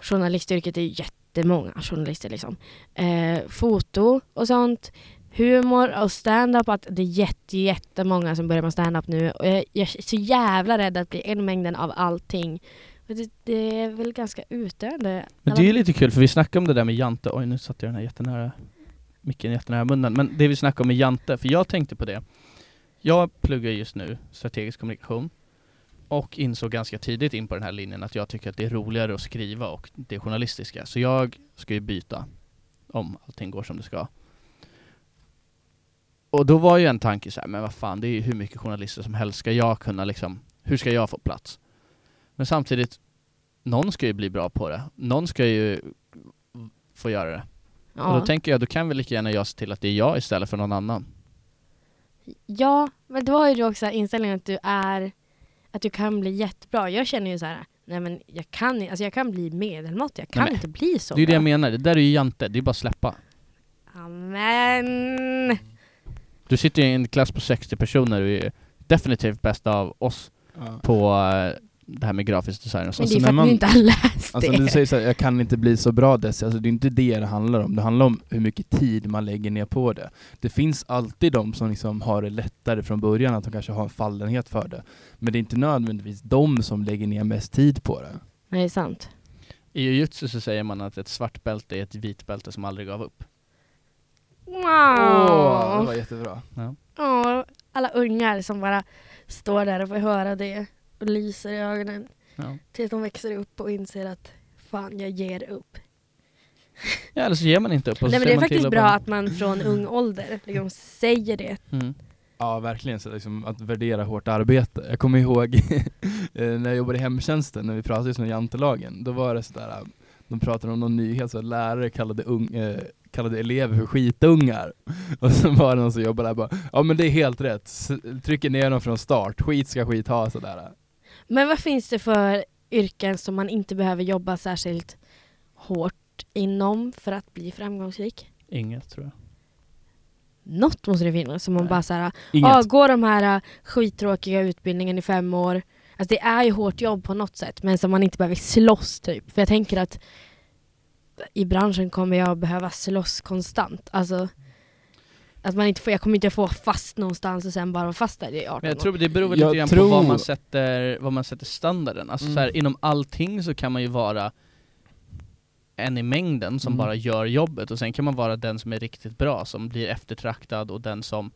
Speaker 3: journalistyrket är jättemånga journalister liksom. Eh, foto och sånt, humor och stand-up att det är jätte, jättemånga som börjar med stand-up nu och jag, jag är så jävla rädd att bli en mängden av allting. Och Det, det är väl ganska utdöende.
Speaker 1: Men det är ju lite kul för vi snackade om det där med Jante, oj nu satte jag den här jättenära micken jättenära munnen, men det vi snackade om med Jante, för jag tänkte på det. Jag pluggar just nu strategisk kommunikation och insåg ganska tidigt in på den här linjen att jag tycker att det är roligare att skriva och det journalistiska, så jag ska ju byta om allting går som det ska. Och då var ju en tanke så här, men vad fan, det är ju hur mycket journalister som helst, ska jag kunna liksom, hur ska jag få plats? Men samtidigt, någon ska ju bli bra på det. Någon ska ju få göra det. Och
Speaker 3: ja.
Speaker 1: då tänker jag, då kan väl lika gärna jag se till att det är jag istället för någon annan.
Speaker 3: ja, men det var ju då också inställningen att du är att du kan bli jättebra. Jag känner ju så här, nej men jag kan, alltså jag kan bli medelmåttig, jag kan
Speaker 1: Nej, men-
Speaker 3: inte bli så
Speaker 1: det är ju det
Speaker 3: bra.
Speaker 1: jag menar, det där är ju Jante, det är bara att släppa.
Speaker 3: Amen.
Speaker 1: Du sitter ju i en klass på 60 personer och är definitivt bäst av oss på eh, det här med grafisk design och
Speaker 3: Men
Speaker 1: sånt.
Speaker 3: det är
Speaker 2: när
Speaker 3: för att
Speaker 2: man-
Speaker 3: ni inte har läst
Speaker 2: Alltså
Speaker 3: det.
Speaker 2: när du säger såhär, jag kan inte bli så bra Desi, alltså det är inte det det handlar om. Det handlar om hur mycket tid man lägger ner på det. Det finns alltid de som liksom har det lättare från början, att de kanske har en fallenhet för det. Men det är inte nödvändigtvis de som lägger ner mest tid på det.
Speaker 3: Nej, det är sant.
Speaker 1: I jujutsu så säger man att ett svart bälte är ett vitt bälte som aldrig gav upp.
Speaker 2: Åh, det
Speaker 3: Wow.
Speaker 2: var jättebra.
Speaker 3: Åh, alla ungar som bara står där och får höra det och lyser i ögonen
Speaker 1: Ja.
Speaker 3: tills de växer upp och inser att fan, jag ger upp.
Speaker 1: ja, eller så ger man inte upp och så
Speaker 3: Nej, men det
Speaker 1: ser
Speaker 3: är
Speaker 1: man till
Speaker 3: faktiskt
Speaker 1: och
Speaker 3: bra
Speaker 1: bara-
Speaker 3: att man från ung ålder liksom säger det.
Speaker 1: Mm.
Speaker 2: Ja, verkligen. Så liksom att värdera hårt arbete. Jag kommer ihåg eh, när jag jobbade i hemtjänsten, när vi pratade just om jantelagen. Då var det sådär, eh, de pratade om någon nyhet, så att lärare kallade, ung, eh, kallade elever för skitungar. Och så var det någon som jobbade där bara, ja men det är helt rätt, S- trycker ner dem från start, skit ska skit ha sådär.
Speaker 3: Men vad finns det för yrken som man inte behöver jobba särskilt hårt inom för att bli framgångsrik?
Speaker 1: Inget tror jag.
Speaker 3: Något måste det finnas som man
Speaker 1: Nej.
Speaker 3: bara så här,
Speaker 2: Inget.
Speaker 3: Ja, går de här äh, skittråkiga utbildningen i fem år. Alltså det är ju hårt jobb på något sätt men som man inte behöver slåss typ. För jag tänker att i branschen kommer jag behöva slåss konstant. Alltså att man inte får, jag kommer inte få fast någonstans och sen bara vara fast där i 18
Speaker 1: Men jag
Speaker 3: år.
Speaker 1: tror det beror väl
Speaker 2: Jag
Speaker 1: lite grann på
Speaker 2: tror-
Speaker 1: vad man sätter, vad man sätter standarden. Alltså
Speaker 2: Mm.
Speaker 1: så här, inom allting så kan man ju vara en i mängden som
Speaker 2: Mm.
Speaker 1: bara gör jobbet och sen kan man vara den som är riktigt bra, som blir eftertraktad och den som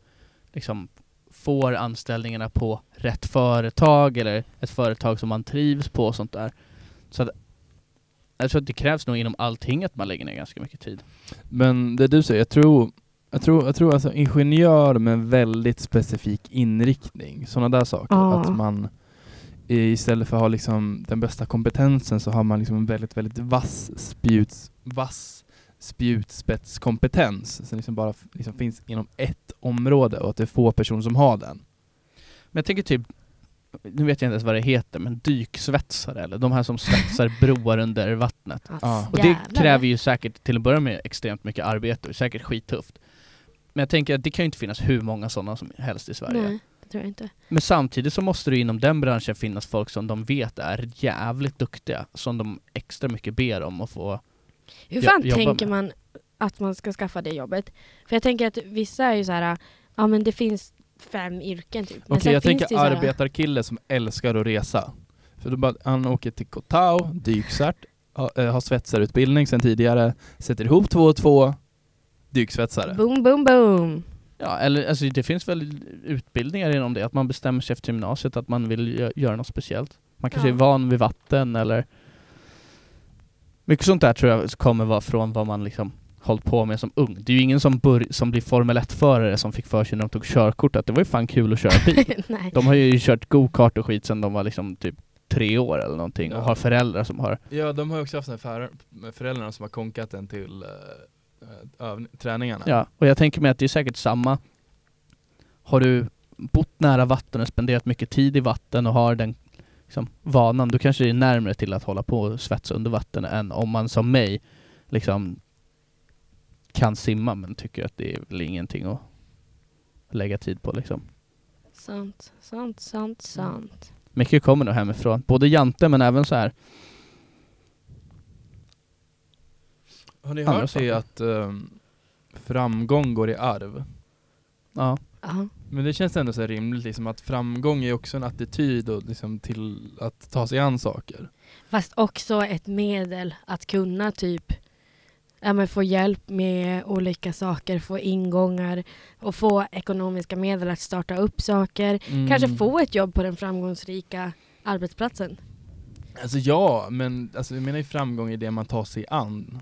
Speaker 1: liksom får anställningarna på rätt företag eller ett företag som man trivs på och sånt där. Så att, jag tror att det krävs nog inom allting att man lägger ner ganska mycket tid.
Speaker 2: Men det du säger, jag tror, jag tror, jag tror alltså ingenjör med en väldigt specifik inriktning, sådana där saker.
Speaker 3: Ja.
Speaker 2: Att man i- istället för att ha liksom den bästa kompetensen så har man liksom en väldigt, väldigt vass, spjuts, vass spjutspetskompetens som liksom bara f- liksom finns inom ett område och att det är få personer som har den.
Speaker 1: Men jag tänker typ, nu vet jag inte ens vad det heter, men dyksvetsare eller de här som svetsar broar under vattnet.
Speaker 3: Alltså,
Speaker 1: Och det
Speaker 3: jävlar.
Speaker 1: kräver ju säkert till att börja med extremt mycket arbete och säkert skittufft. Men jag tänker att det kan ju inte finnas hur många sådana som helst i Sverige.
Speaker 3: Nej, det tror jag inte.
Speaker 1: Men samtidigt så måste det ju inom den branschen finnas folk som de vet är jävligt duktiga, som de extra mycket ber om att få.
Speaker 3: Hur
Speaker 1: Ja,
Speaker 3: fan
Speaker 1: jobba
Speaker 3: tänker
Speaker 1: med.
Speaker 3: man att man ska skaffa det jobbet? För jag tänker att vissa är ju så här, ja men det finns fem yrken typ. Men
Speaker 2: Okej,
Speaker 3: sen
Speaker 2: jag
Speaker 3: finns det
Speaker 2: tänker
Speaker 3: ju så här-
Speaker 2: arbetarkille som älskar att resa. För då bara, han åker till Kotao, dyksvärt, ha- eh, har svetsarutbildning sen tidigare, sätter ihop två och två, dyksvetsare.
Speaker 3: Boom, boom, boom.
Speaker 1: Ja, eller alltså det finns väl utbildningar inom det, att man bestämmer sig efter gymnasiet att man vill gö- göra något speciellt. Man kanske
Speaker 3: Ja.
Speaker 1: är van vid vatten eller Mycket sånt där tror jag kommer vara från vad man liksom hållit på med som ung. Det är ju ingen som, bör- som blir Formel 1-förare som fick för sig när de tog körkort att det var ju fan kul att köra bil.
Speaker 3: Nej.
Speaker 1: De har ju kört go-kart och skit sedan de var liksom typ tre år eller någonting och
Speaker 2: Ja.
Speaker 1: har föräldrar som har
Speaker 2: Ja, de har ju också haft sina föräldrar, föräldrarna som har konkat en till eh, träningarna.
Speaker 1: Ja, och jag tänker mig att det är säkert samma. Har du bott nära vatten och spenderat mycket tid i vatten och har den liksom, vanan, då kanske det är närmare till att hålla på och svetsa under vatten än om man som mig liksom kan simma men tycker att det är väl ingenting att lägga tid på liksom.
Speaker 3: Sant, sant, sant, sant.
Speaker 1: Mycket kommer nog hemifrån. Både jante men även så här.
Speaker 2: Har ni
Speaker 1: Andra
Speaker 2: hört det
Speaker 1: saker.
Speaker 2: att ehm, framgång går i arv.
Speaker 1: Ja.
Speaker 3: Ja.
Speaker 2: Men det känns ändå så här rimligt liksom, att framgång är också en attityd och liksom, till att ta sig an saker.
Speaker 3: Fast också ett medel att kunna typ ja, men få hjälp med olika saker, få ingångar och få ekonomiska medel att starta upp saker. Kanske
Speaker 2: Mm.
Speaker 3: få ett jobb på den framgångsrika arbetsplatsen.
Speaker 2: Alltså ja, men alltså, jag menar ju framgång i det man tar sig an.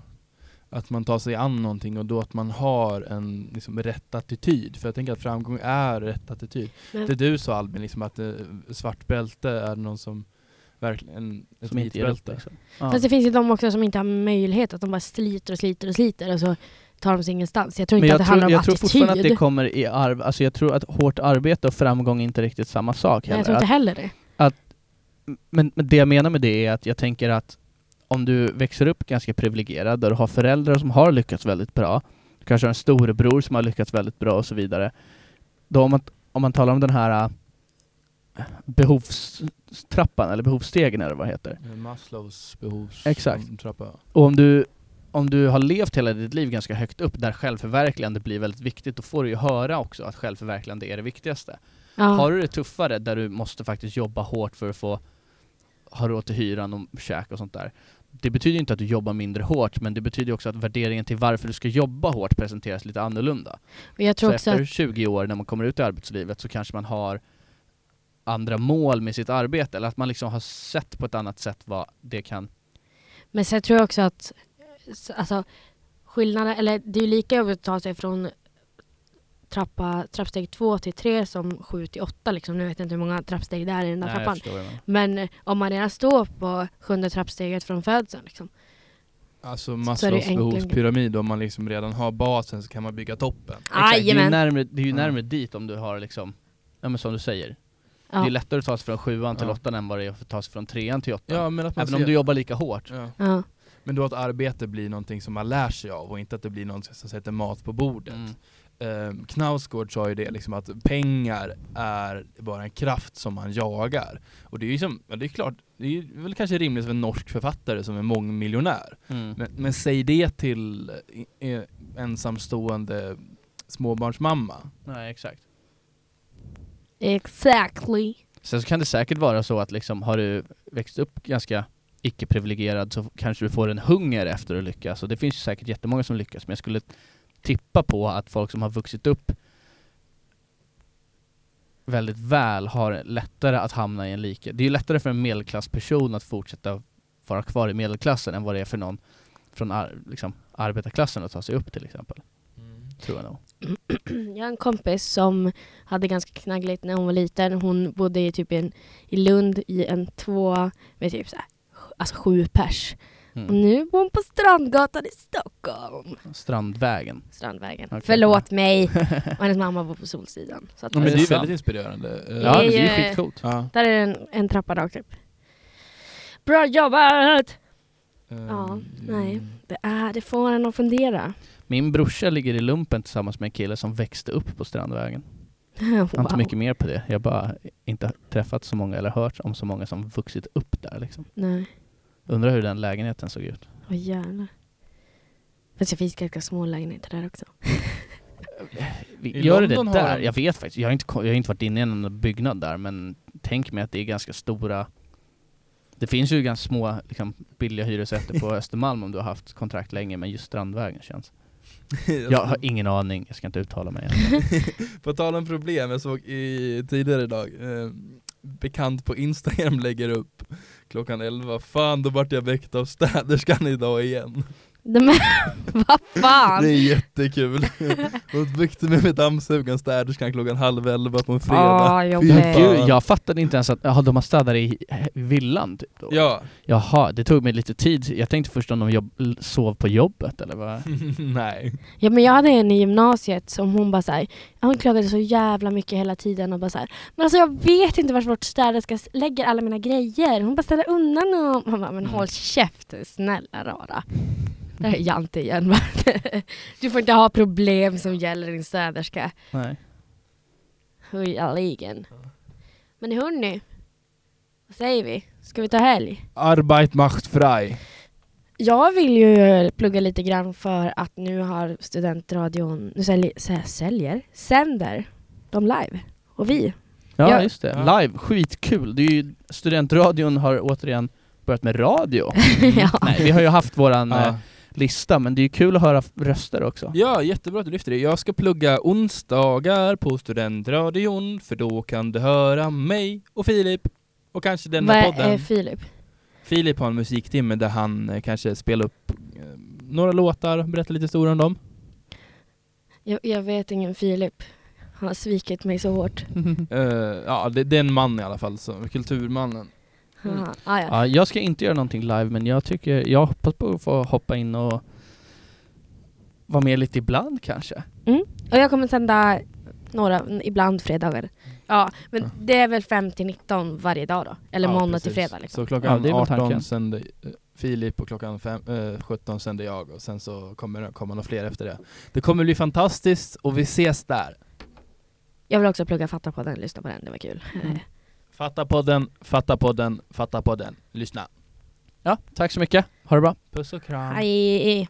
Speaker 2: Att man tar sig an någonting och då att man har en liksom, rätt attityd. För jag tänker att framgång är rätt attityd.
Speaker 3: Men,
Speaker 2: Det du sa Albin, liksom, att eh, svart bälte är någon som verkligen, ett
Speaker 1: Som inte ger upp
Speaker 2: mitbälte.
Speaker 1: liksom. Ja.
Speaker 3: Fast det finns ju de också som inte har möjlighet, att de bara sliter och sliter och sliter och så tar de sig ingenstans. Jag tror
Speaker 1: Men
Speaker 3: inte att det
Speaker 1: jag,
Speaker 3: handlar
Speaker 1: tror,
Speaker 3: om
Speaker 1: jag tror
Speaker 3: attityd.
Speaker 1: fortfarande att det kommer i arv, alltså jag tror att hårt arbete och framgång är inte riktigt samma sak
Speaker 3: Nej,
Speaker 1: heller.
Speaker 3: jag tror inte heller det.
Speaker 1: men, men det jag menar med det är att jag tänker att om du växer upp ganska privilegierad och du har föräldrar som har lyckats väldigt bra, du kanske har en storebror som har lyckats väldigt bra och så vidare. Då om man, om man talar om den här äh, behovstrappan eller behovsstegen eller vad det heter.
Speaker 2: Eh, Maslows behovs...
Speaker 1: Exakt.
Speaker 2: Trappa.
Speaker 1: Och om du, om du har levt hela ditt liv ganska högt upp där självförverkligande blir väldigt viktigt, då får du ju höra också att självförverkligande är det viktigaste.
Speaker 3: Ja.
Speaker 1: Har du det tuffare där du måste faktiskt jobba hårt för att få ha råd till hyran och käk och sånt där. Det betyder ju inte att du jobbar mindre hårt men det betyder ju också att värderingen till varför du ska jobba hårt presenteras lite annorlunda.
Speaker 3: och jag
Speaker 1: Så
Speaker 3: tror också
Speaker 1: efter
Speaker 3: att,
Speaker 1: 20 år när man kommer ut i arbetslivet så kanske man har andra mål med sitt arbete eller att man liksom har sett på ett annat sätt vad det kan...
Speaker 3: men sen tror jag också att s- alltså, skillnaden, eller det är ju lika jobbigt att ta sig från trappa, trappsteg två till tre som sju till åtta liksom. Nu vet jag inte hur många trappsteg det är i den där
Speaker 1: jag
Speaker 3: trappan.
Speaker 1: förstår vad du menar.
Speaker 3: Men eh, om man redan står på sjunde trappsteget från födseln liksom.
Speaker 2: Alltså
Speaker 3: är det
Speaker 2: Maslows
Speaker 3: enklare.
Speaker 2: behovspyramid, om man liksom redan har basen så kan man bygga toppen.
Speaker 1: Exakt, det är ju
Speaker 3: Jajamän.
Speaker 1: närmare, det är ju
Speaker 2: Mm.
Speaker 1: närmare dit om du har liksom, ja men som du säger.
Speaker 3: Ja.
Speaker 1: Det är lättare att ta sig från sjuan till
Speaker 2: Ja.
Speaker 1: åttan än vad det är att ta sig från trean till åttan.
Speaker 2: Ja, men att man
Speaker 1: Även
Speaker 2: ser, Mm.
Speaker 1: om du jobbar lika hårt.
Speaker 2: ja.
Speaker 3: Ja.
Speaker 2: Men då att arbete blir någonting som man lär sig av och inte att det blir någonting som sätter mat på bordet.
Speaker 1: Mm.
Speaker 2: Eh, Knausgård sa ju det liksom att pengar är bara en kraft som man jagar. Och det är ju som, ja, det är klart, det är ju väl kanske rimligt för en norsk författare som är mångmiljonär. Men, men säg det till eh, eh, ensamstående småbarnsmamma.
Speaker 1: Nej, exakt.
Speaker 3: Exactly.
Speaker 1: Sen så kan det säkert vara så att liksom, har du växt upp ganska icke-privilegierad så kanske du får en hunger efter att lyckas. Och det finns ju säkert jättemånga som lyckas, men jag skulle tippa på att folk som har vuxit upp väldigt väl har lättare att hamna i en like. Det är ju lättare för en medelklassperson att fortsätta vara kvar i medelklassen än vad det är för någon från ar- liksom, arbetarklassen att ta sig upp till exempel. Tror jag nog.
Speaker 3: Jag har en kompis som hade ganska knaggligt när hon var liten. Hon bodde i, typ i en, i Lund i en tvåa med typ så här, sj- alltså sju pers. Och
Speaker 1: Mm.
Speaker 3: nu bor hon på Strandgatan i Stockholm.
Speaker 1: Strandvägen.
Speaker 3: Strandvägen.
Speaker 1: Okej.
Speaker 3: Förlåt mig. Och hennes mamma bor på Solsidan. Så att,
Speaker 2: Ja, men det är ju
Speaker 1: sant?
Speaker 2: väldigt inspirerande. Eh,
Speaker 1: Ja,
Speaker 3: är
Speaker 1: det är
Speaker 3: ju-
Speaker 1: ju skitcoolt.
Speaker 2: Ja.
Speaker 3: Där är en, en trappa rakt upp. Bra jobbat! Ja,
Speaker 2: Ehm,
Speaker 3: nej. Det, är, det får en att fundera.
Speaker 1: Min brorsa ligger i lumpen tillsammans med en kille som växte upp på Strandvägen. Jag har inte
Speaker 3: Wow.
Speaker 1: mycket mer på det. Jag har bara inte träffat så många eller hört om så många som vuxit upp där liksom.
Speaker 3: Nej,
Speaker 1: Undrar hur den lägenheten såg ut.
Speaker 3: åh jävlar. Fast det finns ganska små lägenheter där också.
Speaker 1: Vi-
Speaker 2: I
Speaker 1: Gör det
Speaker 2: London har
Speaker 1: där?
Speaker 2: de-
Speaker 1: Jag vet faktiskt. Jag har, inte, ko- jag har inte varit inne i någon byggnad där men tänk mig att det är ganska stora det finns ju ganska små liksom, billiga hyresrätter på Östermalm om du har haft kontrakt länge men just Strandvägen känns. Jag har ingen aning, jag ska inte uttala mig.
Speaker 2: På tal om problem, jag såg i, tidigare idag, eh, bekant på Instagram lägger upp klockan 11, fan då vart jag väckt av städerskan idag igen.
Speaker 3: Nej, Men vad fan!
Speaker 2: Det är jättekul. Hon väckte mig med dammsugaren, städerskan klockan halv 11 på en fredag.
Speaker 3: Ah,
Speaker 2: Fy
Speaker 3: jobbigt.
Speaker 1: Men gud,
Speaker 2: fan.
Speaker 1: jag fattade inte ens att jaha, de har städat i i villan typ då.
Speaker 2: Ja,
Speaker 1: Jaha, det tog mig lite tid. Jag tänkte först om de jobb, l- sov på jobbet eller vad?
Speaker 2: Mm. nej.
Speaker 3: Ja men jag hade en i gymnasiet som hon bara såhär, hon klagade så jävla mycket hela tiden och bara såhär, men alltså jag vet inte vart vårt städerska lägger alla mina grejer. Hon bara ställer undan dem. Man bara, men
Speaker 1: Mm.
Speaker 3: håll käften snälla rara. Där är Jante igen. va? du får inte ha problem som gäller din städerska.
Speaker 1: Nej.
Speaker 3: Hujaligen. Men hörni, vad säger vi? Ska vi ta helg?
Speaker 2: Arbeit macht frei.
Speaker 3: Jag vill ju plugga lite grann för att nu har studentradion, nu säljer, sä- säljer sänder de live. Och vi.
Speaker 1: Ja,
Speaker 3: Ja.
Speaker 1: just det.
Speaker 2: Ja.
Speaker 1: Live, skitkul. Det är ju, studentradion har återigen börjat med radio.
Speaker 3: ja.
Speaker 1: Nej, vi har ju haft våran eh,
Speaker 2: Ja.
Speaker 1: lista, men det är ju kul att höra f- röster också.
Speaker 2: ja, jättebra att du lyfter det. Jag ska plugga onsdagar på Studentradion, för då kan du höra mig och Filip och kanske denna
Speaker 3: Vad
Speaker 2: podden.
Speaker 3: är Filip?
Speaker 2: Filip har en musiktimme där han eh, kanske spelar upp eh, några låtar, berättar lite historier om dem.
Speaker 3: Jag, jag vet ingen Filip. Han har svikit mig så hårt.
Speaker 1: Mm.
Speaker 2: Eh, ja, det, det är en man i alla fall, så, kulturmannen.
Speaker 3: Mm. Ah, ja.
Speaker 1: Ja, jag ska inte göra någonting live, men jag tycker, jag hoppas på att få hoppa in och vara med lite ibland kanske.
Speaker 3: Och jag kommer sända några, n- ibland fredagar. Ja, men
Speaker 2: Ja.
Speaker 3: det är väl 5 till 19 varje dag då? Eller
Speaker 2: Ja,
Speaker 3: måndag till
Speaker 2: precis.
Speaker 3: fredag liksom.
Speaker 2: Så klockan
Speaker 1: Ja, det är väl
Speaker 2: 18
Speaker 1: tanken.
Speaker 2: sänder eh, Filip och klockan fem, eh, 17 sänder jag och sen så kommer det komma några fler efter det. Det kommer bli fantastiskt och vi ses där.
Speaker 3: Jag vill också plugga Fatta på den, lyssna på den, det var kul.
Speaker 2: Mm. Fatta podden, fatta podden, fatta podden. Lyssna.
Speaker 1: Ja, tack så mycket. Ha det bra.
Speaker 2: Puss och kram.
Speaker 3: Hej!